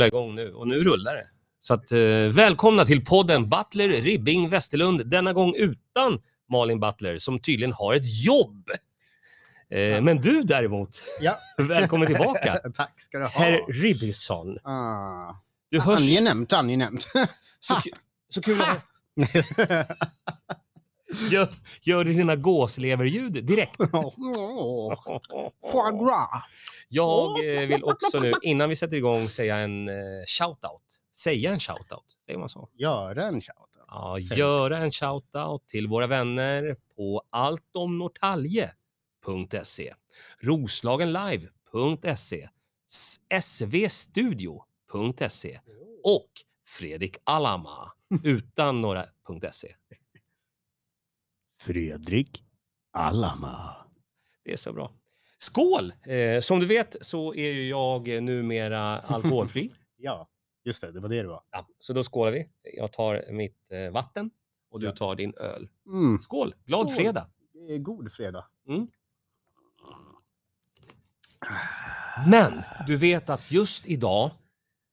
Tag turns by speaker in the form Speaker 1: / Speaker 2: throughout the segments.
Speaker 1: rulla igång nu och nu rullar det. Så att, eh, välkomna till podden Butler Ribbing Westerlund, denna gång utan Malin Butler som tydligen har ett jobb. Eh, men du däremot,
Speaker 2: Ja.
Speaker 1: välkommen tillbaka.
Speaker 2: Tack ska du ha.
Speaker 1: Herr Ribbingsson.
Speaker 2: Ah.
Speaker 1: Du hörs...
Speaker 2: Angenämt, angenämt.
Speaker 1: Så, ku- så kul. att- Gör, gör du dina gåsleverljud direkt?
Speaker 2: Åh, Foie gras.
Speaker 1: Jag eh, vill också nu, innan vi sätter igång, säga en eh, shoutout. Säga en shoutout, säger man så?
Speaker 2: Gör en shoutout.
Speaker 1: Ja,
Speaker 2: Fint.
Speaker 1: göra en shoutout till våra vänner på alltomnortalje.se, roslagenlive.se, svstudio.se och Fredrik Alama utan några .se.
Speaker 2: Fredrik Alama.
Speaker 1: Det är så bra. Skål! Eh, som du vet så är ju jag eh, numera alkoholfri.
Speaker 2: Ja, just det. Det var det det var.
Speaker 1: Ja, så då skålar vi. Jag tar mitt eh, vatten och du
Speaker 2: Ja.
Speaker 1: tar din öl.
Speaker 2: Mm.
Speaker 1: Skål! Glad
Speaker 2: Skål.
Speaker 1: fredag!
Speaker 2: det är God fredag. Ah.
Speaker 1: Men du vet att just idag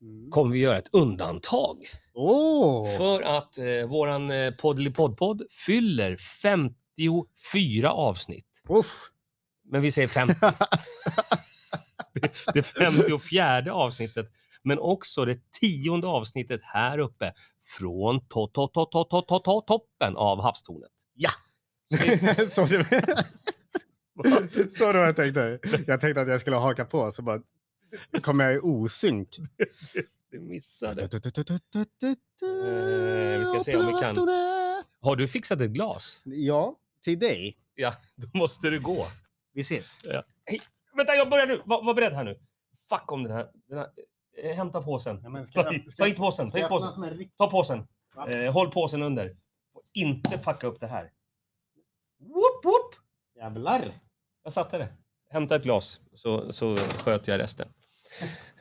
Speaker 2: Mm.
Speaker 1: kommer vi göra ett undantag.
Speaker 2: Åh!
Speaker 1: För att eh, våran eh, Poddelipoddpodd fyller 54 avsnitt.
Speaker 2: Uff.
Speaker 1: Men vi säger 50. det 54 avsnittet. Men också det tionde avsnittet här uppe. Från to, to, to, to, to, to, to, toppen av havstornet.
Speaker 2: Ja.
Speaker 1: Så det-
Speaker 2: så, det, så det var jag tänkte. Jag tänkte att jag skulle haka på, så bara kom jag i osynk.
Speaker 1: Du missade. vi ska se om vi kan- Har du fixat ett glas?
Speaker 2: Ja, till dig.
Speaker 1: Ja, då måste du gå.
Speaker 2: Vi ses.
Speaker 1: Vänta, jag börjar nu. Var, var beredd här nu. Fuck om den här. Den här. eh, Hämta påsen.
Speaker 2: Ja, men ska
Speaker 1: Ta,
Speaker 2: jag-
Speaker 1: hit-
Speaker 2: ska
Speaker 1: ta
Speaker 2: jag-
Speaker 1: hit påsen. Ta hit påsen.
Speaker 2: som en rikt-
Speaker 1: Ta påsen.
Speaker 2: Va?
Speaker 1: Eh, håll påsen under. Och inte fucka upp det här. Whoop, whoop.
Speaker 2: Jävlar!
Speaker 1: Jag satte det. Hämta ett glas så, så sköter jag resten.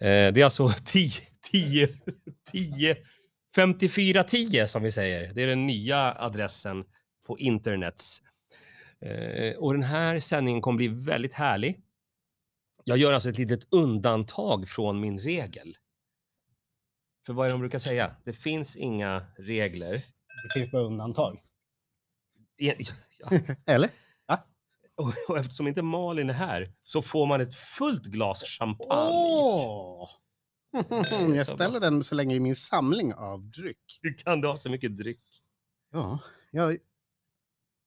Speaker 1: Eh, det är alltså 10, 10, 10, 54 10 som vi säger. Det är den nya adressen på internets. Eh, och den här sändningen kommer bli väldigt härlig. Jag gör alltså ett litet undantag från min regel. För vad är det de brukar säga? Det finns inga regler.
Speaker 2: Det finns bara undantag.
Speaker 1: E- ja.
Speaker 2: Eller?
Speaker 1: Och, och eftersom inte Malin är här så får man ett fullt glas champagne.
Speaker 2: Åh!
Speaker 1: är
Speaker 2: Jag
Speaker 1: så
Speaker 2: ställer den så länge i min samling av dryck.
Speaker 1: Hur kan du ha så mycket dryck?
Speaker 2: Ja, jag...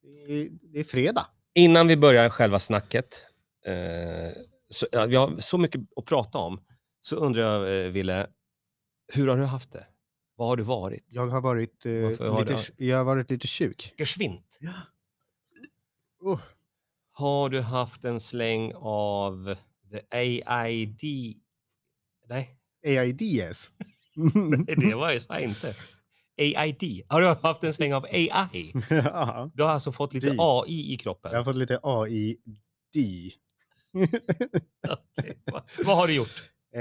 Speaker 2: det, är, det är fredag.
Speaker 1: Innan vi börjar själva snacket, eh, så, ja, vi har så mycket att prata om, så undrar jag, eh, Ville, hur har du haft det? Vad har du varit?
Speaker 2: Jag har varit, eh,
Speaker 1: Varför har
Speaker 2: lite, jag har varit lite sjuk.
Speaker 1: Geschwint.
Speaker 2: Ja. Oh.
Speaker 1: Har du haft en släng av the AID? Nej,
Speaker 2: AIDS.
Speaker 1: det var jag sa inte. AID. Har du haft en släng av AI?
Speaker 2: ja,
Speaker 1: Du har alltså fått lite
Speaker 2: Di.
Speaker 1: AI i kroppen.
Speaker 2: jag har fått lite AID.
Speaker 1: Okej, va- Vad har du gjort?
Speaker 2: Eh,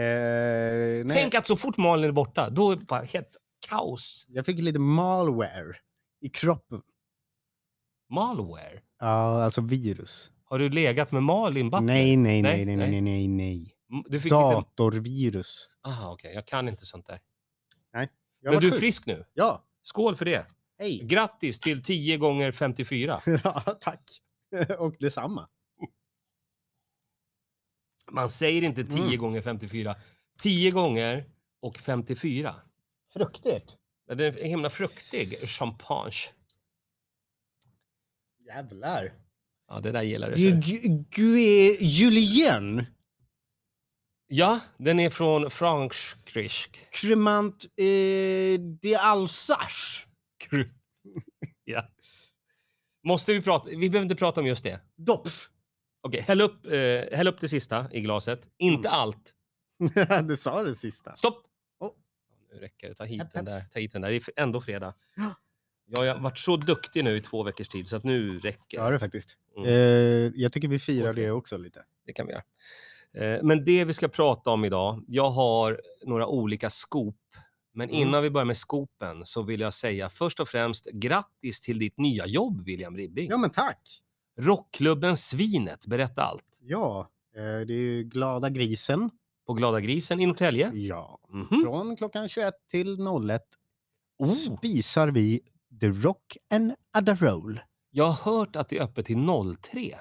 Speaker 2: nej,
Speaker 1: Tänk att så fort Malin är borta, då är det bara helt kaos.
Speaker 2: Jag fick lite malware i kroppen.
Speaker 1: Malware.
Speaker 2: Ja, alltså virus.
Speaker 1: Har du legat med Malin Butler?
Speaker 2: Nej, nej,
Speaker 1: Nej,
Speaker 2: nej, nej,
Speaker 1: nej.
Speaker 2: nej, nej, nej, nej.
Speaker 1: M- Du fick lite...
Speaker 2: Datorvirus.
Speaker 1: Aha, okej. Jag kan inte sånt där.
Speaker 2: Jag
Speaker 1: Men
Speaker 2: var
Speaker 1: du är
Speaker 2: sjuk.
Speaker 1: frisk nu.
Speaker 2: Ja,
Speaker 1: Skål för det.
Speaker 2: hej.
Speaker 1: Grattis till 10 gånger 54.
Speaker 2: ja, tack. Och detsamma.
Speaker 1: Man säger inte 10
Speaker 2: Mm.
Speaker 1: gånger 54. 10 gånger och 54.
Speaker 2: Fruktigt.
Speaker 1: Den är himla fruktig. Champagne.
Speaker 2: Jävlar.
Speaker 1: Ja, det där gillar du.
Speaker 2: Ju-
Speaker 1: ser du.
Speaker 2: ju- ju- Julien
Speaker 1: Ja, den är från Frankrike.
Speaker 2: Cremant eh, de Alsace.
Speaker 1: Kru- ja. Måste vi prata? Vi behöver inte prata om just det.
Speaker 2: Dopf.
Speaker 1: Okej, häll, upp, eh, häll upp det sista i glaset. Inte allt.
Speaker 2: du sa det sista.
Speaker 1: Stopp!
Speaker 2: Mm. Oh.
Speaker 1: Nu räcker det. Ta hit
Speaker 2: Häpp,
Speaker 1: den där. Ta hit den där. Det är f- ändå fredag.
Speaker 2: Ja.
Speaker 1: Jag har varit så duktig nu i två veckors tid så att nu räcker
Speaker 2: Ja,
Speaker 1: det.
Speaker 2: det faktiskt.
Speaker 1: Mm.
Speaker 2: Eh, jag tycker vi firar
Speaker 1: Okej.
Speaker 2: det också lite.
Speaker 1: Det kan vi göra. Eh, Men det vi ska prata om idag. Jag har några olika skop. Men
Speaker 2: Mm.
Speaker 1: innan vi börjar med skopen så vill jag säga först och främst grattis till ditt nya jobb William Ribbing.
Speaker 2: Ja, men tack.
Speaker 1: Rockklubben Svinet, berätta allt.
Speaker 2: Ja, eh, det är ju Glada grisen
Speaker 1: på Glada Grisen i Norrtälje.
Speaker 2: Ja,
Speaker 1: Mhm.
Speaker 2: från klockan 21 till 01
Speaker 1: Oh,
Speaker 2: spisar vi The Rock and Adarole.
Speaker 1: jag har hört att det är öppet till 03.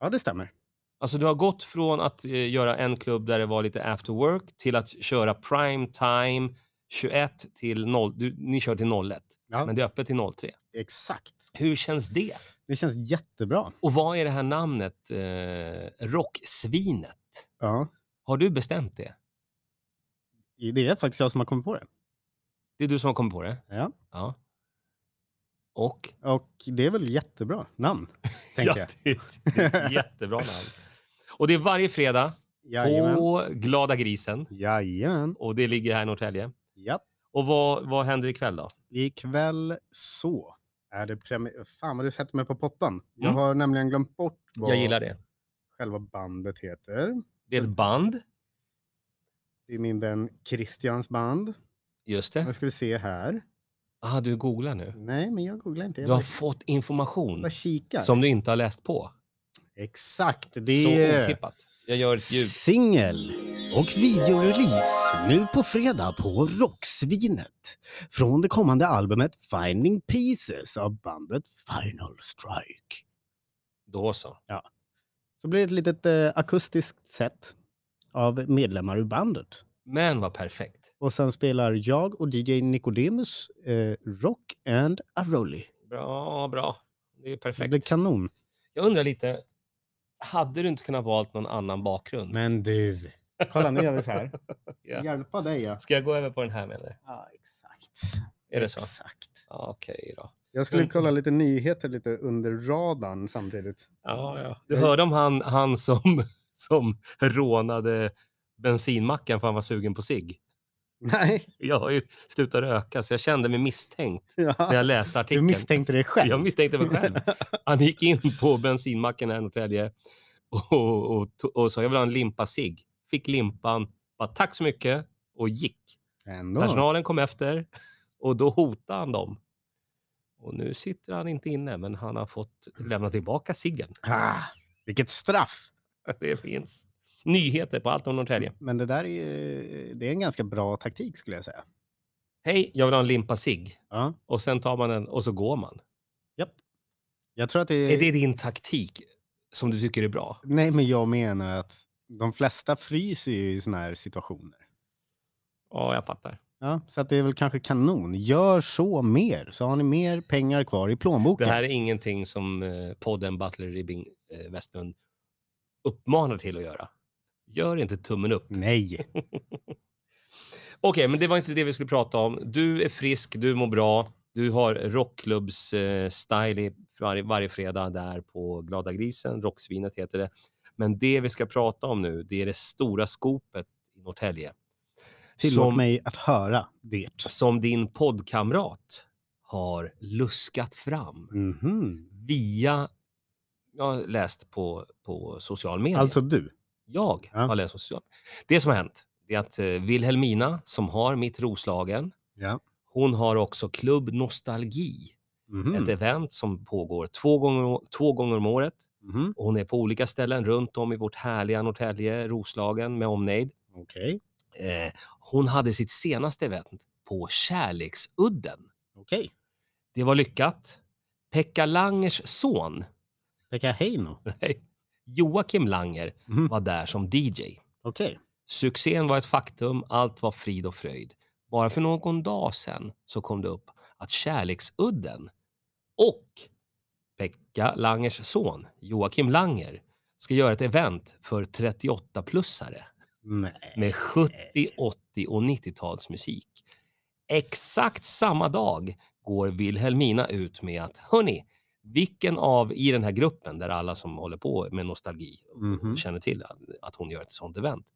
Speaker 2: Ja, det stämmer.
Speaker 1: Alltså du har gått från att eh, göra en klubb där det var lite after work till att köra prime time 21 till 0. Du, ni kör till 01,
Speaker 2: Ja,
Speaker 1: men det är öppet till 03.
Speaker 2: exakt.
Speaker 1: Hur känns det?
Speaker 2: Det känns jättebra.
Speaker 1: Och vad är det här namnet? Eh, rocksvinet.
Speaker 2: Ja,
Speaker 1: Har du bestämt det?
Speaker 2: det är faktiskt jag som har kommit på det.
Speaker 1: Det är du som har kommit på det?
Speaker 2: Ja.
Speaker 1: ja. Och?
Speaker 2: Och det är väl jättebra namn, tänker
Speaker 1: ja,
Speaker 2: jag.
Speaker 1: det är ett jättebra namn. Och det är varje fredag
Speaker 2: Jajamän.
Speaker 1: på Glada Grisen.
Speaker 2: Jajamän.
Speaker 1: Och det ligger här i Norrtälje.
Speaker 2: Japp.
Speaker 1: Och vad, vad händer ikväll då?
Speaker 2: Ikväll så är det premiär... Fan vad du sätter mig på pottan. Jag
Speaker 1: Mm.
Speaker 2: har nämligen glömt bort vad
Speaker 1: Jag gillar det.
Speaker 2: själva bandet heter.
Speaker 1: Det är ett band.
Speaker 2: Det är min vän Christians band.
Speaker 1: Just
Speaker 2: Nu
Speaker 1: det.
Speaker 2: ska vi se här.
Speaker 1: Ah, du googlar nu.
Speaker 2: Nej, men jag googlar inte. Jag
Speaker 1: Du har
Speaker 2: bara,
Speaker 1: fått
Speaker 2: bara
Speaker 1: information
Speaker 2: kikar.
Speaker 1: Mm. som du inte har läst på.
Speaker 2: Exakt.
Speaker 1: Så
Speaker 2: Det är
Speaker 1: otippat. Jag gör ett ljud.
Speaker 2: singel och videorelease nu på fredag på Rocksvinet från det kommande albumet Finding Pieces av bandet Final Strike.
Speaker 1: Då så.
Speaker 2: Så blir det ett litet eh, akustiskt set av medlemmar ur bandet.
Speaker 1: Men vad perfekt.
Speaker 2: Och sen spelar jag och DJ Nicodemus eh, Rock and Aroli.
Speaker 1: Bra, bra. Det är
Speaker 2: Det blir
Speaker 1: perfekt.
Speaker 2: kanon.
Speaker 1: Jag undrar lite, hade du inte kunnat valt någon annan bakgrund?
Speaker 2: Men du. Kolla, nu gör vi så här.
Speaker 1: Ja.
Speaker 2: Hjälpa dig, ja.
Speaker 1: Ska jag gå över på den här menar du?
Speaker 2: Ja, exakt.
Speaker 1: Är det så?
Speaker 2: Exakt.
Speaker 1: Ja, Okej då.
Speaker 2: Jag skulle
Speaker 1: Mm.
Speaker 2: kolla lite nyheter lite under radarn samtidigt.
Speaker 1: Ja, ja.
Speaker 2: Eh,
Speaker 1: Du hörde om han, han som, som rånade bensinmacken för han var sugen på sig.
Speaker 2: Nej.
Speaker 1: Jag har ju slutat röka så jag kände mig misstänkt när
Speaker 2: Ja.
Speaker 1: jag läste
Speaker 2: Du
Speaker 1: artikeln.
Speaker 2: misstänkte dig själv.
Speaker 1: Jag misstänkte mig själv. Han gick in på bensinmacken här i Norrtälje och, och, to- och sa jag vill ha en limpa sig. Fick limpan, bara tack så mycket och gick.
Speaker 2: Ändå.
Speaker 1: Personalen kom efter och då hotade han dem. Och nu sitter han inte inne, men han har fått lämna tillbaka ciggen.
Speaker 2: Ah, vilket straff.
Speaker 1: Det finns nyheter på allt om Norrtälje.
Speaker 2: Men det där är, ju- det är en ganska bra taktik skulle jag säga.
Speaker 1: Hej, jag vill ha en limpa cigg.
Speaker 2: Ja.
Speaker 1: Och sen tar man den och så går man.
Speaker 2: Jag tror att det
Speaker 1: Är det din taktik som du tycker är bra?
Speaker 2: Nej, men jag menar att de flesta fryser ju i såna här situationer.
Speaker 1: Ja, jag fattar.
Speaker 2: Ja, så att det är väl kanske kanon. Gör så mer, så har ni mer pengar kvar i
Speaker 1: Det
Speaker 2: plånboken.
Speaker 1: här är ingenting som eh, podden Butler Ribbing eh, Westlund uppmanar till att göra. Gör inte tummen upp.
Speaker 2: Nej.
Speaker 1: Okej, men det var inte det vi skulle prata om. Du är frisk, du mår bra. Du har rockklubbs-style i- varje, varje fredag där på Glada Grisen. Rocksvinet heter det. Men det vi ska prata om nu, det är det stora skopet i Norrtälje.
Speaker 2: Tillåt
Speaker 1: Som,
Speaker 2: mig att höra det.
Speaker 1: som din poddkamrat har luskat fram
Speaker 2: Mhm.
Speaker 1: via... Jag har läst på, på social media.
Speaker 2: Alltså du.
Speaker 1: Jag
Speaker 2: Ja.
Speaker 1: har läst social. Det som har hänt det är att eh, Wilhelmina, som har mitt Roslagen,
Speaker 2: Ja.
Speaker 1: hon har också Klubb Nostalgi,
Speaker 2: Mhm.
Speaker 1: ett event som pågår två gånger, å- två gånger om året.
Speaker 2: Mhm.
Speaker 1: Och Hon är på olika ställen runt om i vårt härliga Norrtälje, Roslagen med omnejd.
Speaker 2: Okej.
Speaker 1: Eh, hon hade sitt senaste event på Kärleksudden.
Speaker 2: Okej.
Speaker 1: Det var lyckat. Pekka Langers son,
Speaker 2: Pekka Heino.
Speaker 1: nej, Joakim Langer,
Speaker 2: Mhm.
Speaker 1: var där som DJ.
Speaker 2: Okej.
Speaker 1: Succén var ett faktum, allt var frid och fröjd. Bara för någon dag sedan så kom det upp att Kärleksudden och Pekka Langers son, Joakim Langer, ska göra ett event för 38-plussare
Speaker 2: Nej.
Speaker 1: med 70-, 80 och 90-talsmusik. Exakt samma dag går Wilhelmina ut med att, hörni, vilken av i den här gruppen där alla som håller på med nostalgi och
Speaker 2: Mhm.
Speaker 1: känner till att, att hon gör ett sånt event.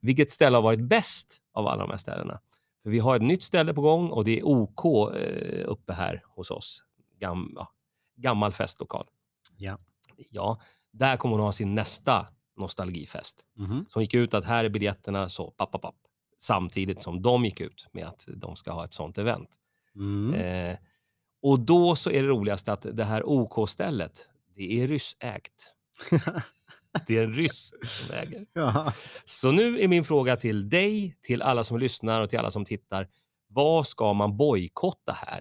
Speaker 1: Vilket ställe har varit bäst av alla de här ställena? För vi har ett nytt ställe på gång och det är OK eh, uppe här hos oss. Gam, ja, gammal festlokal.
Speaker 2: Ja.
Speaker 1: Ja, där kommer hon ha sin nästa nostalgifest
Speaker 2: Mhm.
Speaker 1: som gick ut att här är biljetterna, så papp, papp, papp. Samtidigt som de gick ut med att de ska ha ett sånt event.
Speaker 2: Mm.
Speaker 1: Eh, och då så är det roligast att det här OK-stället, det är ryssägt. Det är en ryss som äger.
Speaker 2: Ja.
Speaker 1: Så nu är min fråga till dig, till alla som lyssnar och till alla som tittar. Vad ska man bojkotta här?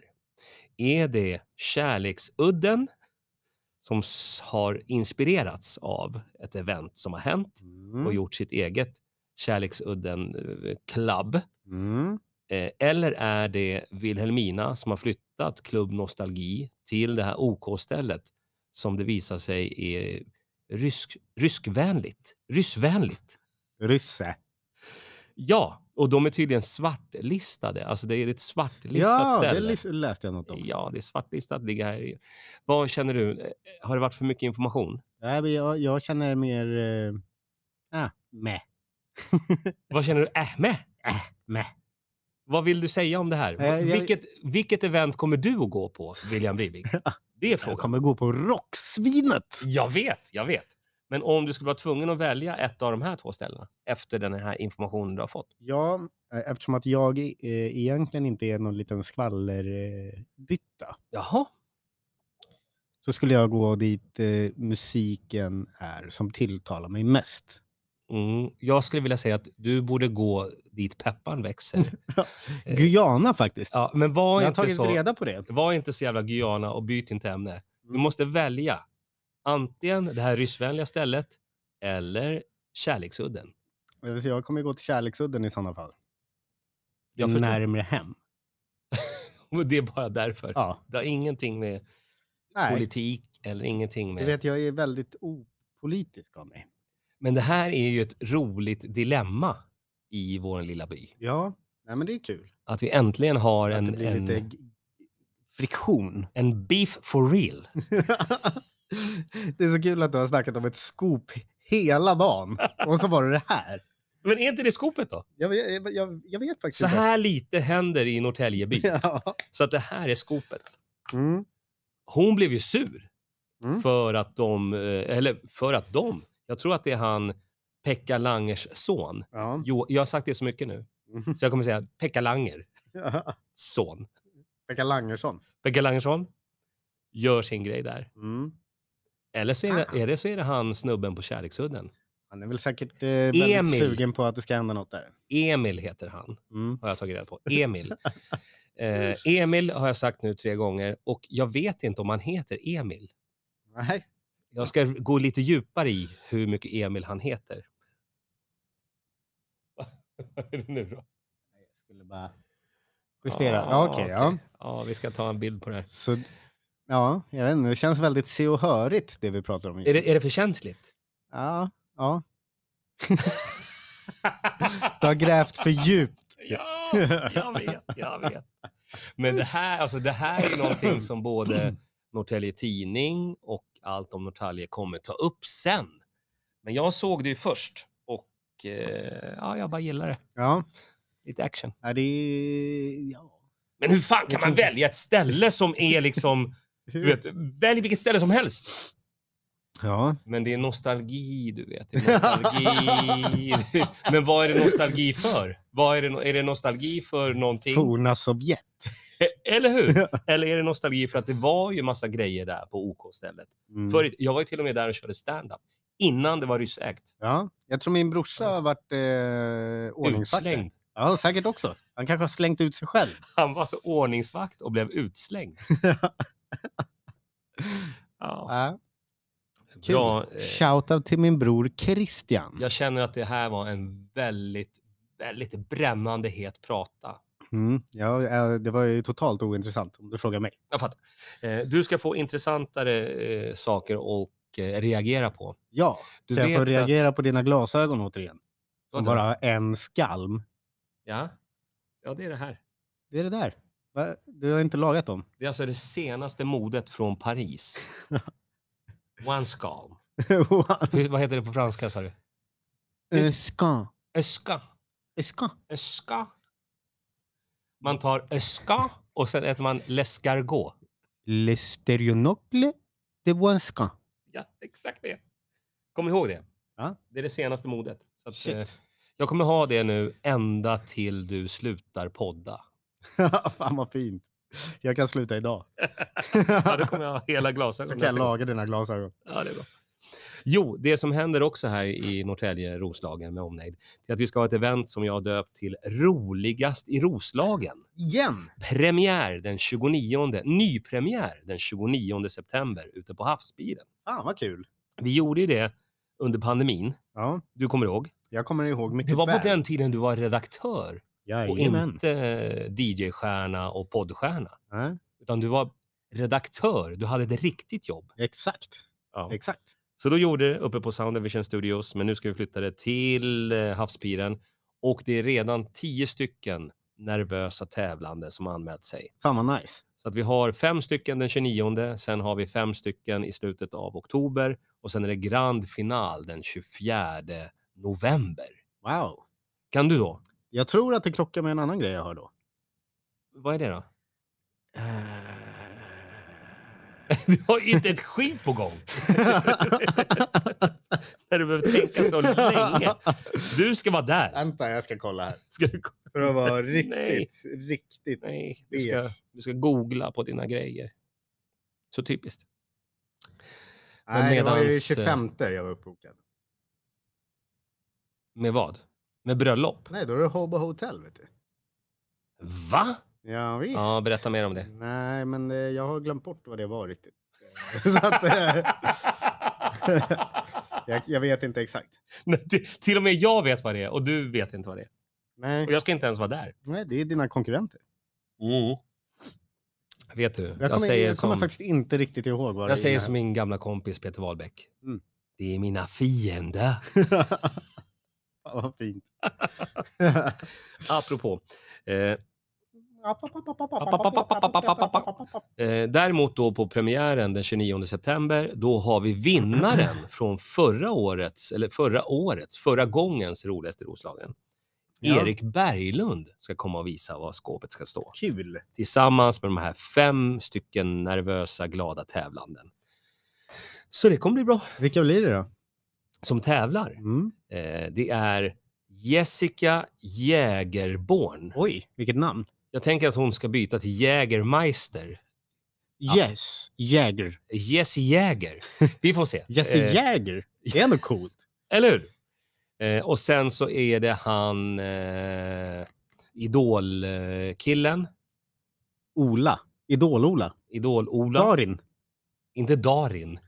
Speaker 1: Är det kärleksudden som s- har inspirerats av ett event som har hänt och
Speaker 2: Mm.
Speaker 1: gjort sitt eget kärleksudden eh, club?
Speaker 2: Mm.
Speaker 1: Eh, Eller är det Vilhelmina som har flyttat Klubb Nostalgi till det här OK-stället som det visar sig är rysk, ryskvänligt? Ryssvänligt?
Speaker 2: Rysse.
Speaker 1: Ja, och de är tydligen svartlistade. Alltså det är ett svartlistat
Speaker 2: Ja, det
Speaker 1: ställe.
Speaker 2: lis- läste jag något om.
Speaker 1: Ja, det är svartlistat. Ligger här. i- Vad känner du? Eh, Har det varit för mycket information?
Speaker 2: Nej, men jag, jag känner mer... eh, ah, meh,
Speaker 1: Vad känner du? Äh, med?
Speaker 2: meh.
Speaker 1: Vad vill du säga om det här?
Speaker 2: Eh, jag-
Speaker 1: Vilket, vilket event kommer du att gå på, William Brivik? Det är frågan.
Speaker 2: Jag kommer gå på Rocksvinet.
Speaker 1: Jag vet, jag vet. Men om du skulle vara tvungen att välja ett av de här två ställena efter den här informationen du har fått.
Speaker 2: Ja, eh, eftersom att jag eh, egentligen inte är någon liten skvallerbytta
Speaker 1: Jaha.
Speaker 2: så skulle jag gå dit eh, musiken är som tilltalar mig mest.
Speaker 1: Mm, jag skulle vilja säga att du borde gå dit pepparn växer. Eh,
Speaker 2: Guyana faktiskt.
Speaker 1: Ja, men var
Speaker 2: Mm. jag har
Speaker 1: inte,
Speaker 2: tagit
Speaker 1: så,
Speaker 2: reda på det.
Speaker 1: var inte så jävla Guyana och byt inte ämne. Du
Speaker 2: Mm.
Speaker 1: måste välja antingen det här ryssvänliga stället eller kärleksudden.
Speaker 2: Så jag kommer gå till Kärleksudden i sådana fall. Det är
Speaker 1: Jag förstår.
Speaker 2: närmare hem.
Speaker 1: Och Det är bara därför.
Speaker 2: Ja.
Speaker 1: Det har ingenting med politik eller ingenting
Speaker 2: Du
Speaker 1: med...
Speaker 2: vet, jag är väldigt opolitisk av mig.
Speaker 1: Men det här är ju ett roligt dilemma i vår lilla by.
Speaker 2: Ja, nej, men det är kul.
Speaker 1: Att vi äntligen har
Speaker 2: att det
Speaker 1: en,
Speaker 2: blir
Speaker 1: en,
Speaker 2: lite g- friktion.
Speaker 1: en beef for real.
Speaker 2: det är så kul att du har snackat om ett scoop hela dagen och så var det det här.
Speaker 1: Men är inte det skopet då?
Speaker 2: Jag, jag, jag, jag vet faktiskt
Speaker 1: Så här lite händer i Norrtälje by.
Speaker 2: inte. Ja.
Speaker 1: Så att det här är skopet.
Speaker 2: Mm.
Speaker 1: Hon blev ju sur
Speaker 2: Mm.
Speaker 1: för att de, eh, eller för att de, jag tror att det är han Pekka Langers son.
Speaker 2: Ja.
Speaker 1: Jo, jag har sagt det så mycket nu, så jag kommer säga Pekka Langer son.
Speaker 2: Pekka Langersson.
Speaker 1: Pekka Langersson gör sin grej där.
Speaker 2: Mm.
Speaker 1: Eller så är
Speaker 2: Ah.
Speaker 1: det, är det, så är det han snubben på Kärleksudden.
Speaker 2: Han är väl säkert eh, väldigt
Speaker 1: Emil.
Speaker 2: sugen på att det ska hända något där.
Speaker 1: Emil heter han.
Speaker 2: Mm.
Speaker 1: har jag tagit reda på. Emil. Eh, Emil har jag sagt nu tre gånger och jag vet inte om han heter Emil.
Speaker 2: Nej.
Speaker 1: Jag ska gå lite djupare i hur mycket Emil han heter. Vad är det nu då? Ah,
Speaker 2: Jag skulle bara justera. ja, okej. ja.
Speaker 1: okej. ja, vi ska ta en bild på det. här.
Speaker 2: Så, ja, jag vet inte. Det känns väldigt se och hörigt det vi pratar om. just
Speaker 1: Är
Speaker 2: nu.
Speaker 1: det, är det för känsligt?
Speaker 2: Ja, ja. Du har grävt för djupt.
Speaker 1: ja, jag vet, jag vet. Men det här, alltså det här är ju någonting som både Norrtälje Tidning och allt om Norrtälje kommer ta upp sen. Men jag såg det ju först och eh, ja, jag bara gillar det.
Speaker 2: Ja,
Speaker 1: Lite action.
Speaker 2: är det är- ja.
Speaker 1: Men hur fan kan man välja ett ställe som är liksom, du vet, välj vilket ställe som helst.
Speaker 2: Ja.
Speaker 1: Men det är nostalgi, du vet. Det är nostalgi. Men vad är det nostalgi för? Vad är, det, no- är det nostalgi för någonting?
Speaker 2: Forna Sovjet.
Speaker 1: E, Eller hur? Eller är det nostalgi för att det var ju massa grejer där på OK-stället.
Speaker 2: Mm.
Speaker 1: Förr, jag var ju till och med där och körde stand-up innan det var ryssägt.
Speaker 2: Ja, jag tror min brorsa har varit eh, ordningsvakt.
Speaker 1: Utslängd.
Speaker 2: Ja, säkert också. Han kanske har slängt ut sig själv.
Speaker 1: Han var så ordningsvakt och blev utslängd. ja,
Speaker 2: Ja. Kul.
Speaker 1: bra. eh,
Speaker 2: Shoutout till min bror Christian.
Speaker 1: Jag känner att det här var en väldigt, väldigt brännande het prata.
Speaker 2: Mm. Ja, eh, det var ju totalt ointressant om du frågar mig.
Speaker 1: Jag fattar. Eh, Du ska få intressantare eh, saker och eh, reagera på.
Speaker 2: Ja,
Speaker 1: Du
Speaker 2: så jag får
Speaker 1: att-
Speaker 2: reagera på dina glasögon återigen.
Speaker 1: Vadå?
Speaker 2: Som bara har en skalm.
Speaker 1: Ja. ja, det är det här.
Speaker 2: Det är det där. Va? Du har inte lagat dem.
Speaker 1: Det är alltså det senaste modet från Paris. One scalm. Hur, vad heter det på franska sa du?
Speaker 2: Öska.
Speaker 1: Öska.
Speaker 2: Öska.
Speaker 1: Öska. Man tar öska och sen äter man l'escargot.
Speaker 2: Le stereonocle de Wanska.
Speaker 1: Ja, exakt det. Kom ihåg det.
Speaker 2: Ja.
Speaker 1: Det är det senaste modet. Så att,
Speaker 2: Shit.
Speaker 1: eh, jag kommer ha det nu ända till du slutar podda.
Speaker 2: Fan vad fint. Jag kan sluta idag.
Speaker 1: Ja, då kommer jag ha hela
Speaker 2: Så
Speaker 1: glasögonen.
Speaker 2: kan jag
Speaker 1: nästa gång.
Speaker 2: laga dina glasögon.
Speaker 1: Ja, det är bra. Jo, det som händer också här i Norrtälje, Roslagen med omnejd, det är att vi ska ha ett event som jag har döpt till Roligast i Roslagen.
Speaker 2: Igen!
Speaker 1: Premiär den 29, nypremiär den 29 september ute på Havsbilen.
Speaker 2: Fan vad kul.
Speaker 1: Vi gjorde ju det under pandemin,
Speaker 2: Ja,
Speaker 1: du kommer ihåg.
Speaker 2: jag kommer ihåg mycket
Speaker 1: Det var på
Speaker 2: väl.
Speaker 1: den tiden du var redaktör och
Speaker 2: Jajamän.
Speaker 1: inte DJ-stjärna och poddstjärna.
Speaker 2: Nej,
Speaker 1: Utan du var redaktör, du hade ett riktigt jobb.
Speaker 2: exakt.
Speaker 1: Ja.
Speaker 2: Exakt.
Speaker 1: Så då gjorde det uppe på Sound and Vision Studios, men nu ska vi flytta det till eh, Havspiren. Och det är redan tio stycken nervösa tävlande som har anmält sig.
Speaker 2: Fan vad nice.
Speaker 1: Så att vi har fem stycken den 29, sen har vi fem stycken i slutet av oktober och sen är det grand final den 24 november.
Speaker 2: Wow.
Speaker 1: Kan du då?
Speaker 2: Jag tror att det klockar med en annan grej jag hör då.
Speaker 1: Vad är det då? Eh. Du har inte ett skit på gång när du behöver tänka så länge. Du ska vara där.
Speaker 2: Vänta, jag ska kolla här.
Speaker 1: Ska du... gå-
Speaker 2: För att vara
Speaker 1: Nej.
Speaker 2: riktigt, riktigt.
Speaker 1: Nej, du ska, du ska googla på dina grejer. Så typiskt. Men
Speaker 2: Nej, det var ju
Speaker 1: medans, eh,
Speaker 2: 25 jag var uppbokad.
Speaker 1: Med vad? Med bröllop?
Speaker 2: Nej, då är det Hobo Hotel vet du.
Speaker 1: Va?
Speaker 2: Ja, visst.
Speaker 1: Ja, berätta mer om det.
Speaker 2: Nej, men eh, jag har glömt bort vad det var riktigt. så att, eh, jag, jag vet inte exakt.
Speaker 1: Nej, till, till och med jag vet vad det är och du vet inte vad det är.
Speaker 2: Nej,
Speaker 1: Och jag ska inte ens vara där.
Speaker 2: nej det är dina konkurrenter.
Speaker 1: Mm. Vet du, jag,
Speaker 2: Jag kommer, jag
Speaker 1: säger,
Speaker 2: kommer
Speaker 1: som,
Speaker 2: faktiskt inte riktigt ihåg vad det
Speaker 1: jag säger
Speaker 2: är.
Speaker 1: som min gamla kompis Peter Wahlbeck.
Speaker 2: Mm.
Speaker 1: Det är mina fiender.
Speaker 2: Fan, vad fint.
Speaker 1: Apropå. Eh, Eh, däremot då på premiären den 29 september, då har vi vinnaren från förra årets, eller förra årets, förra gångens roligaste Roslagen.
Speaker 2: Ja.
Speaker 1: Erik Berglund ska komma och visa var skåpet ska stå.
Speaker 2: Kul.
Speaker 1: Tillsammans med de här fem stycken nervösa, glada tävlanden. Så det kommer bli bra.
Speaker 2: Vilka blir det då?
Speaker 1: Som tävlar,
Speaker 2: Mm.
Speaker 1: eh, det är Jessica Jägerborn.
Speaker 2: Oj, vilket namn.
Speaker 1: Jag tänker att hon ska byta till Jägermeister.
Speaker 2: Yes, Jäger.
Speaker 1: Jesse Jäger. Vi får se.
Speaker 2: Jesse
Speaker 1: Eh,
Speaker 2: Jäger. Det är ändå coolt.
Speaker 1: Eller hur? Eh, och sen så är det han eh, Idol-killen.
Speaker 2: Ola. Idol-Ola.
Speaker 1: Idol-Ola.
Speaker 2: Darin.
Speaker 1: Inte Darin.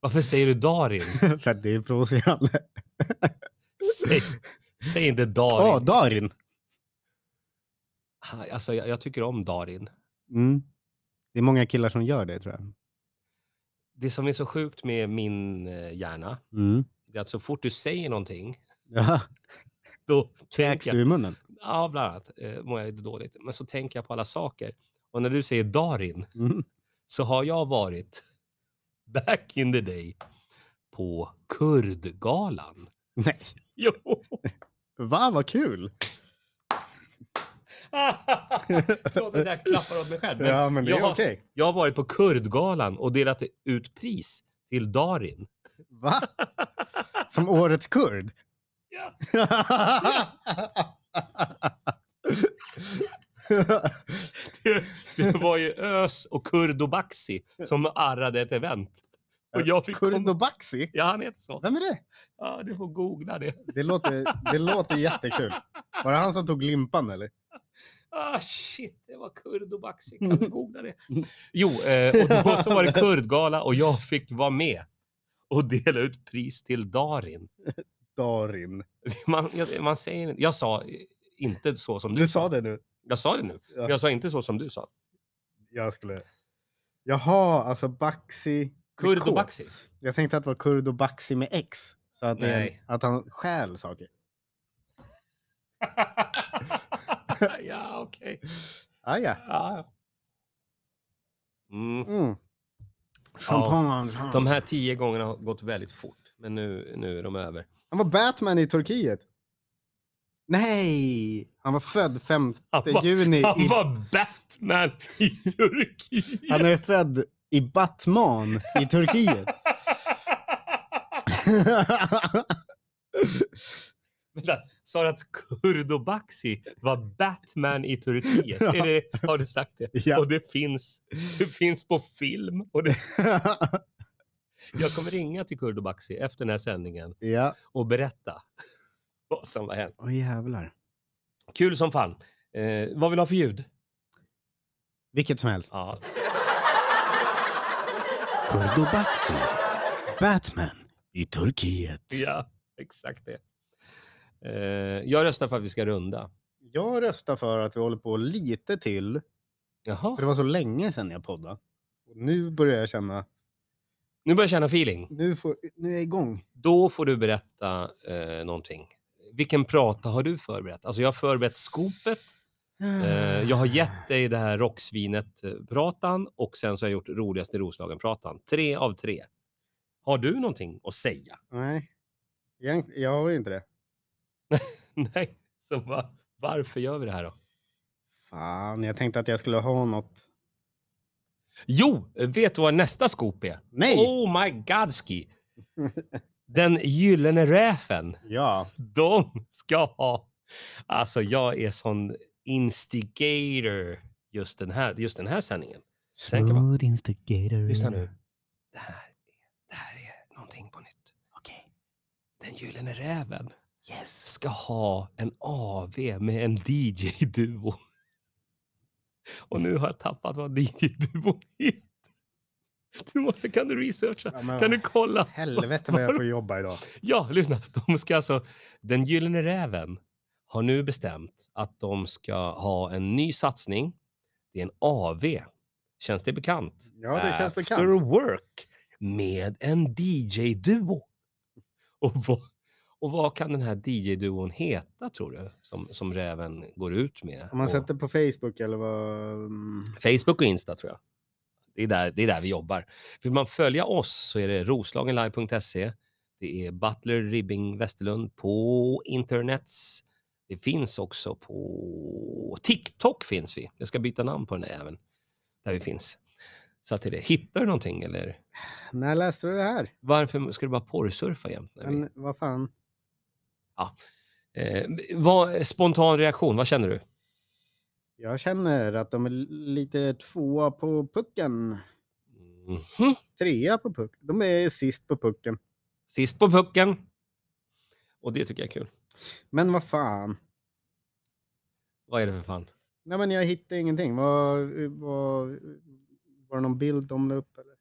Speaker 1: Varför säger du Darin?
Speaker 2: För att det är provocerande.
Speaker 1: Säg, säg inte Darin.
Speaker 2: Ja, Darin.
Speaker 1: Ha- alltså, jag, jag tycker om Darin.
Speaker 2: Mm. Det är många killar som gör det tror jag.
Speaker 1: Det som är så sjukt med min eh, hjärna,
Speaker 2: Mm.
Speaker 1: det är att så fort du säger någonting,
Speaker 2: Ja,
Speaker 1: då
Speaker 2: kräks
Speaker 1: tänker jag...
Speaker 2: du i munnen?
Speaker 1: Ja, bland annat. Eh, mår jag lite dåligt. Men så tänker jag på alla saker. Och när du säger Darin,
Speaker 2: Mm.
Speaker 1: så har jag varit back in the day på Kurdgalan.
Speaker 2: Nej.
Speaker 1: Jo!
Speaker 2: Va, vad kul!
Speaker 1: Förlåt att jag klappar åt mig själv. Men
Speaker 2: Ja, men det
Speaker 1: jag,
Speaker 2: är
Speaker 1: har-
Speaker 2: okej.
Speaker 1: jag har varit på Kurdgalan och delat ut pris till Darin.
Speaker 2: Va? Som årets kurd?
Speaker 1: Ja. Det, det var ju Ös och Kurd och Baxi som arrade ett event. Och jag fick
Speaker 2: kurd
Speaker 1: komma...
Speaker 2: och baxi?
Speaker 1: Ja, han heter så.
Speaker 2: Vem är det?
Speaker 1: Ja, du får googla det.
Speaker 2: Det låter, det låter jättekul. Var det han som tog limpan eller?
Speaker 1: Ah shit, det var kurd och baxi. Kan du googla det? Mm. Jo, eh, och då så var det kurdgala och jag fick vara med och dela ut pris till Darin.
Speaker 2: Darin.
Speaker 1: Man, jag, man säger, jag sa inte så som du,
Speaker 2: Du sa det nu.
Speaker 1: Jag sa det nu.
Speaker 2: Ja.
Speaker 1: men Jag sa inte så som du sa.
Speaker 2: Jag skulle... Jaha, alltså baxi. med
Speaker 1: Kurd
Speaker 2: K.
Speaker 1: och baxi.
Speaker 2: Jag tänkte att det var kurd och baxi med X. Så att, det är-
Speaker 1: Nej.
Speaker 2: att han stjäl saker.
Speaker 1: ja, okej.
Speaker 2: Ah, ja.
Speaker 1: Ja, ja. Mm.
Speaker 2: Mm. Champagne. Ja.
Speaker 1: De här tio gångerna har gått väldigt fort, men nu, nu är de över.
Speaker 2: Han var Batman i Turkiet. Nej! Han var född 5
Speaker 1: Han var,
Speaker 2: juni.
Speaker 1: han
Speaker 2: i...
Speaker 1: var Batman i Turkiet!
Speaker 2: han är född i Batman i Turkiet.
Speaker 1: Vänta, sa du att Kurdobaxi var Batman i Turkiet? Är det, har du sagt det?
Speaker 2: ja.
Speaker 1: Och det finns, det finns på film. Och det, Jag kommer ringa till Kurd och Baxi efter den här sändningen
Speaker 2: Ja,
Speaker 1: och berätta vad som har hänt.
Speaker 2: åh jävlar.
Speaker 1: Kul som fan. Eh, vad vill du ha för ljud?
Speaker 2: Vilket som helst.
Speaker 1: Ja,
Speaker 2: Kurdobaxi. Batman i Turkiet.
Speaker 1: ja exakt det. Eh, jag röstar för att vi ska runda.
Speaker 2: Jag röstar för att vi håller på lite till. För
Speaker 1: Jaha.
Speaker 2: det var så länge sedan jag poddade. Och nu börjar jag känna,
Speaker 1: Nu börjar jag känna feeling.
Speaker 2: nu, får, nu är jag igång.
Speaker 1: Då får du berätta eh, någonting. Vilken prata har du förberett? Alltså jag har förberett skopet,
Speaker 2: Mm.
Speaker 1: eh, jag har gett dig det här rocksvinet-pratan och sen så har jag gjort roligaste Roslagen-pratan. Tre av tre. Har du någonting att säga?
Speaker 2: Nej, Egent- jag har ju inte det.
Speaker 1: Nej, så va, varför gör vi det här då?
Speaker 2: Fan, jag tänkte att jag skulle ha något.
Speaker 1: Jo, vet du vad nästa skop är?
Speaker 2: Nej!
Speaker 1: Oh my godski! Den gyllene räfen.
Speaker 2: Ja,
Speaker 1: De ska ha... Alltså jag är sån instigator just den här, just den här sändningen. Sen kan man...
Speaker 2: instigator.
Speaker 1: Lyssna nu. Det här, är- det här är någonting på nytt.
Speaker 2: Okej.
Speaker 1: Den gyllene räven
Speaker 2: Yes.
Speaker 1: ska ha en AV med en DJ-duo. Och nu har jag tappat vad DJ-duo heter. Du måste, kan du researcha?
Speaker 2: Ja, men,
Speaker 1: Kan du kolla?
Speaker 2: Helvete vad jag får jobba idag.
Speaker 1: Ja, lyssna. De ska alltså, den gyllene räven har nu bestämt att de ska ha en ny satsning. Det är en AV. Känns det bekant?
Speaker 2: Ja, det känns
Speaker 1: After
Speaker 2: bekant.
Speaker 1: Work med en DJ-duo. Och vad, och vad kan den här DJ-duon heta tror du? Som, som räven går ut med.
Speaker 2: Om man
Speaker 1: Och
Speaker 2: sätter på Facebook eller vad... mm,
Speaker 1: Facebook och Insta tror jag. Det är, där, det är där vi jobbar. Vill man följa oss så är det roslagenlive.se. Det är Butler Ribbing Westerlund på internets. Det finns också på TikTok finns vi. Jag ska byta namn på den där även. Där vi finns. Så att det är det. Hittar du någonting eller?
Speaker 2: När läste du det här?
Speaker 1: Varför ska du bara porrsurfa jämt? När vi...
Speaker 2: Men, vad fan?
Speaker 1: eh, vad, spontan reaktion, vad känner du?
Speaker 2: Jag känner att de är lite tvåa på pucken.
Speaker 1: Mhm.
Speaker 2: Trea på puck. De är sist på pucken.
Speaker 1: Sist på pucken. Och det tycker jag är kul.
Speaker 2: Men vad fan.
Speaker 1: Vad är det för fan?
Speaker 2: Nej, men jag hittade ingenting. Var, var, var det någon bild de la upp? Eller?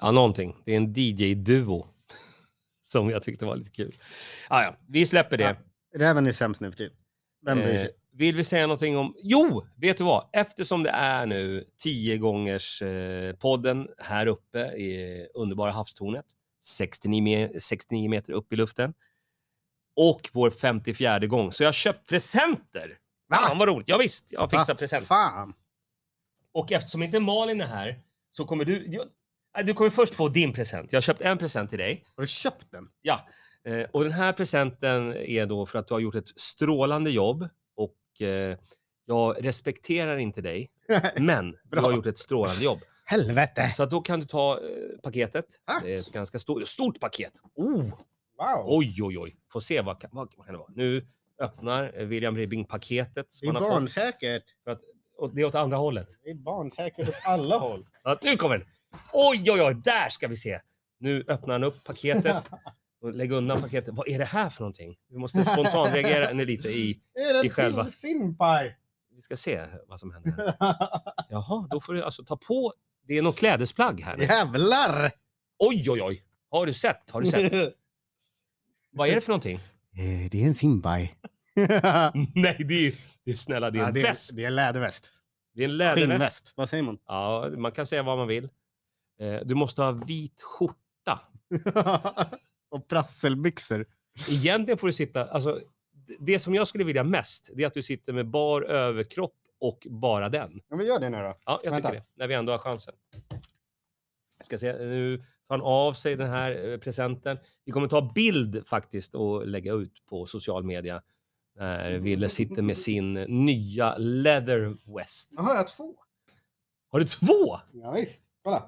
Speaker 1: Ja, någonting. Det är en DJ-duo. Som jag tyckte var lite kul. Ah, ja, vi släpper det.
Speaker 2: Räven är sämst nu för tiden. Vem bryr
Speaker 1: Eh,
Speaker 2: sig?
Speaker 1: vill vi säga någonting om... Jo, vet du vad? Eftersom det är nu 10 gångers eh, podden här uppe i underbara havstornet. 69, me- 69 meter upp i luften. Och vår 54 gång. Så jag har köpt presenter! Fan vad roligt! Ja, visst, jag har fixat
Speaker 2: Va
Speaker 1: present.
Speaker 2: Fan!
Speaker 1: Och eftersom inte Malin är här så kommer du... Jag, nej, du kommer först få din present. Jag har köpt en present till dig.
Speaker 2: Har du köpt den?
Speaker 1: Ja, eh, och den här presenten är då för att du har gjort ett strålande jobb och eh, jag respekterar inte dig, men du har
Speaker 2: Bra.
Speaker 1: gjort ett strålande jobb.
Speaker 2: Helvete!
Speaker 1: Så att då kan du ta eh, paketet.
Speaker 2: Tack.
Speaker 1: Det är ett ganska stort, stort paket. Oh,
Speaker 2: Wow!
Speaker 1: oj, oj, oj. Får se vad, kan- vad, vad kan det vara. Nu öppnar eh, William Ribbing paketet.
Speaker 2: det
Speaker 1: Som
Speaker 2: är
Speaker 1: han har fått.
Speaker 2: barnsäkert.
Speaker 1: Och det är åt andra hållet.
Speaker 2: Det är barnsäkert åt alla håll.
Speaker 1: Ja, nu kommer den! Oj, oj, oj, där ska vi se! Nu öppnar han upp paketet. Och lägger undan paketet. Vad är det här för någonting? Vi måste spontant reagera nu lite i...
Speaker 2: Är det
Speaker 1: I själva-
Speaker 2: till simpar?
Speaker 1: Vi ska se vad som händer. här. Jaha, då får du alltså ta på... Det är något klädesplagg här. nu.
Speaker 2: Jävlar!
Speaker 1: Oj, oj, oj! Har du sett? Har du sett? Vad är det för någonting?
Speaker 2: Eh, Det är en Simbai.
Speaker 1: Nej, det är, det är snälla, det är en
Speaker 2: Ja, det,
Speaker 1: väst.
Speaker 2: är, det är en läderväst.
Speaker 1: Det är en läderväst.
Speaker 2: Skinnväst. Vad säger man?
Speaker 1: Ja, man kan säga vad man vill. Eh, Du måste ha vit skjorta.
Speaker 2: och prasselbyxor.
Speaker 1: Egentligen får du sitta... Alltså, d- det som jag skulle vilja mest, det är att du sitter med bar överkropp och bara den.
Speaker 2: Ja, men gör det nu då.
Speaker 1: Ja, jag
Speaker 2: Vänta.
Speaker 1: tycker det. När vi ändå har chansen. Jag ska se, nu tar han av sig den här eh, presenten. Vi kommer ta bild faktiskt och lägga ut på social media. När Wille sitter med sin nya Leather West.
Speaker 2: Jaha, jag har två.
Speaker 1: Har du två?
Speaker 2: Ja, visst. Kolla.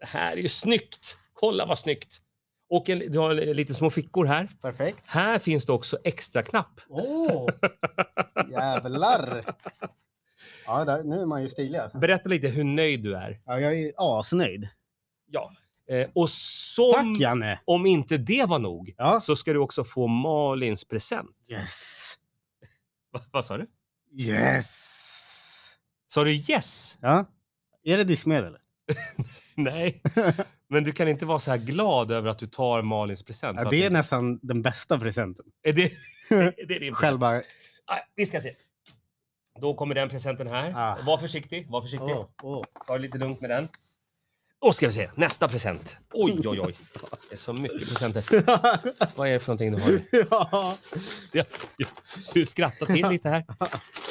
Speaker 1: Det här är ju snyggt! Kolla vad snyggt! Och en, du har lite små fickor här.
Speaker 2: Perfekt.
Speaker 1: Här finns det också extra knapp.
Speaker 2: Åh! Jävlar! Ja, där, nu är man ju stilig alltså.
Speaker 1: Berätta lite hur nöjd du är.
Speaker 2: Ja, jag är asnöjd.
Speaker 1: Ja, Eh, och som,
Speaker 2: Tack Janne!
Speaker 1: om inte det var nog,
Speaker 2: Ja.
Speaker 1: så ska du också få Malins present.
Speaker 2: Yes!
Speaker 1: Va, vad sa du?
Speaker 2: Yes!
Speaker 1: Sa du yes?
Speaker 2: Ja. Är det diskmedel? eller?
Speaker 1: Nej. Men du kan inte vara så här glad över att du tar Malins present.
Speaker 2: Ja,
Speaker 1: för
Speaker 2: det är
Speaker 1: att du...
Speaker 2: nästan den bästa presenten.
Speaker 1: är det, är det din present?
Speaker 2: Själva...
Speaker 1: Ah, vi ska se. Då kommer den presenten här.
Speaker 2: Ah. Oh.
Speaker 1: Var försiktig, var försiktig.
Speaker 2: Åh, åh.
Speaker 1: Ta det lite lugnt med den. Och ska vi se, nästa present. Oj, oj, oj. Det är så mycket presenter. Vad är det för någonting du har?
Speaker 2: ja.
Speaker 1: Du skrattar till lite här.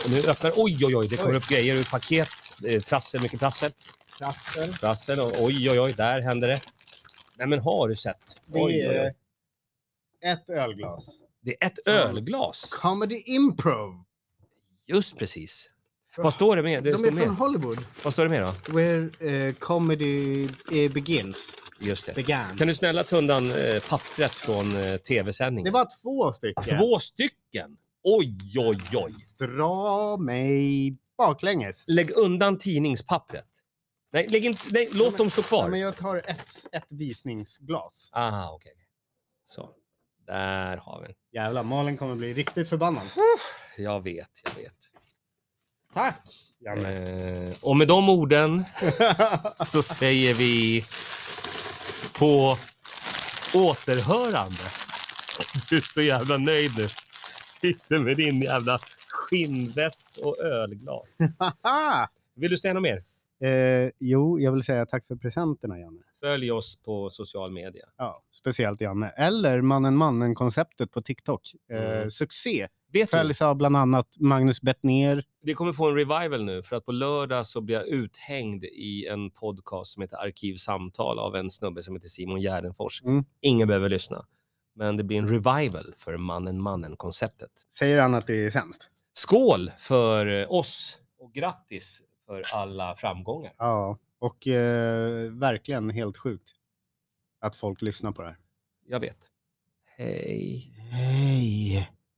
Speaker 1: Och nu öppnar Oj, oj, oj. Det kommer upp grejer ur paket. Det är Trassel, mycket trassel.
Speaker 2: Trassel.
Speaker 1: Trassel och oj, oj, oj. Där händer det. Nej, men har du sett? Oj, oj,
Speaker 2: Det
Speaker 1: oj.
Speaker 2: är eh, ett ölglas.
Speaker 1: Det är ett ölglas.
Speaker 2: Comedy improv.
Speaker 1: Just precis. Vad står det med? Det
Speaker 2: De
Speaker 1: står
Speaker 2: är från
Speaker 1: med.
Speaker 2: Hollywood,
Speaker 1: Vad står det med då?
Speaker 2: where eh, comedy eh, begins.
Speaker 1: Just det.
Speaker 2: Began.
Speaker 1: Kan du snälla ta undan eh, pappret från eh,
Speaker 2: Det
Speaker 1: tv-sändningen?
Speaker 2: var två stycken.
Speaker 1: Två stycken! Oj, oj, oj.
Speaker 2: Dra mig baklänges.
Speaker 1: Lägg undan tidningspappret. Nej, lägg inte, nej låt dem stå
Speaker 2: Ja,
Speaker 1: kvar.
Speaker 2: men jag tar ett, ett visningsglas.
Speaker 1: Aha, okej. Så. Där har vi den.
Speaker 2: Jävlar, Malin kommer bli riktigt förbannad.
Speaker 1: Jag vet, jag vet.
Speaker 2: Tack! Janne.
Speaker 1: Eh, och med de orden så säger vi på återhörande. Du är så jävla nöjd nu. Sitter med din jävla skinnväst och ölglas.
Speaker 2: Haha!
Speaker 1: Vill du säga något mer?
Speaker 2: eh, jo, jag vill säga tack för presenterna, Janne.
Speaker 1: Följ oss på social media.
Speaker 2: Ja, speciellt Janne. Eller Mannen Mannen-konceptet på TikTok. Eh,
Speaker 1: Mm.
Speaker 2: Succé!
Speaker 1: Vet du,
Speaker 2: Följs av bland annat Magnus Bettner.
Speaker 1: det kommer få en revival nu för att på lördag så blir jag uthängd i en podcast som heter Arkivsamtal av en snubbe som heter Simon Gärdenfors.
Speaker 2: Mm.
Speaker 1: Ingen behöver lyssna. Men det blir en revival för mannen mannen-konceptet.
Speaker 2: Säger han att det är sämst?
Speaker 1: Skål för eh, oss och grattis för alla framgångar.
Speaker 2: Ja, och eh, verkligen helt sjukt att folk lyssnar på det här.
Speaker 1: Jag vet. Hej.
Speaker 2: Hej!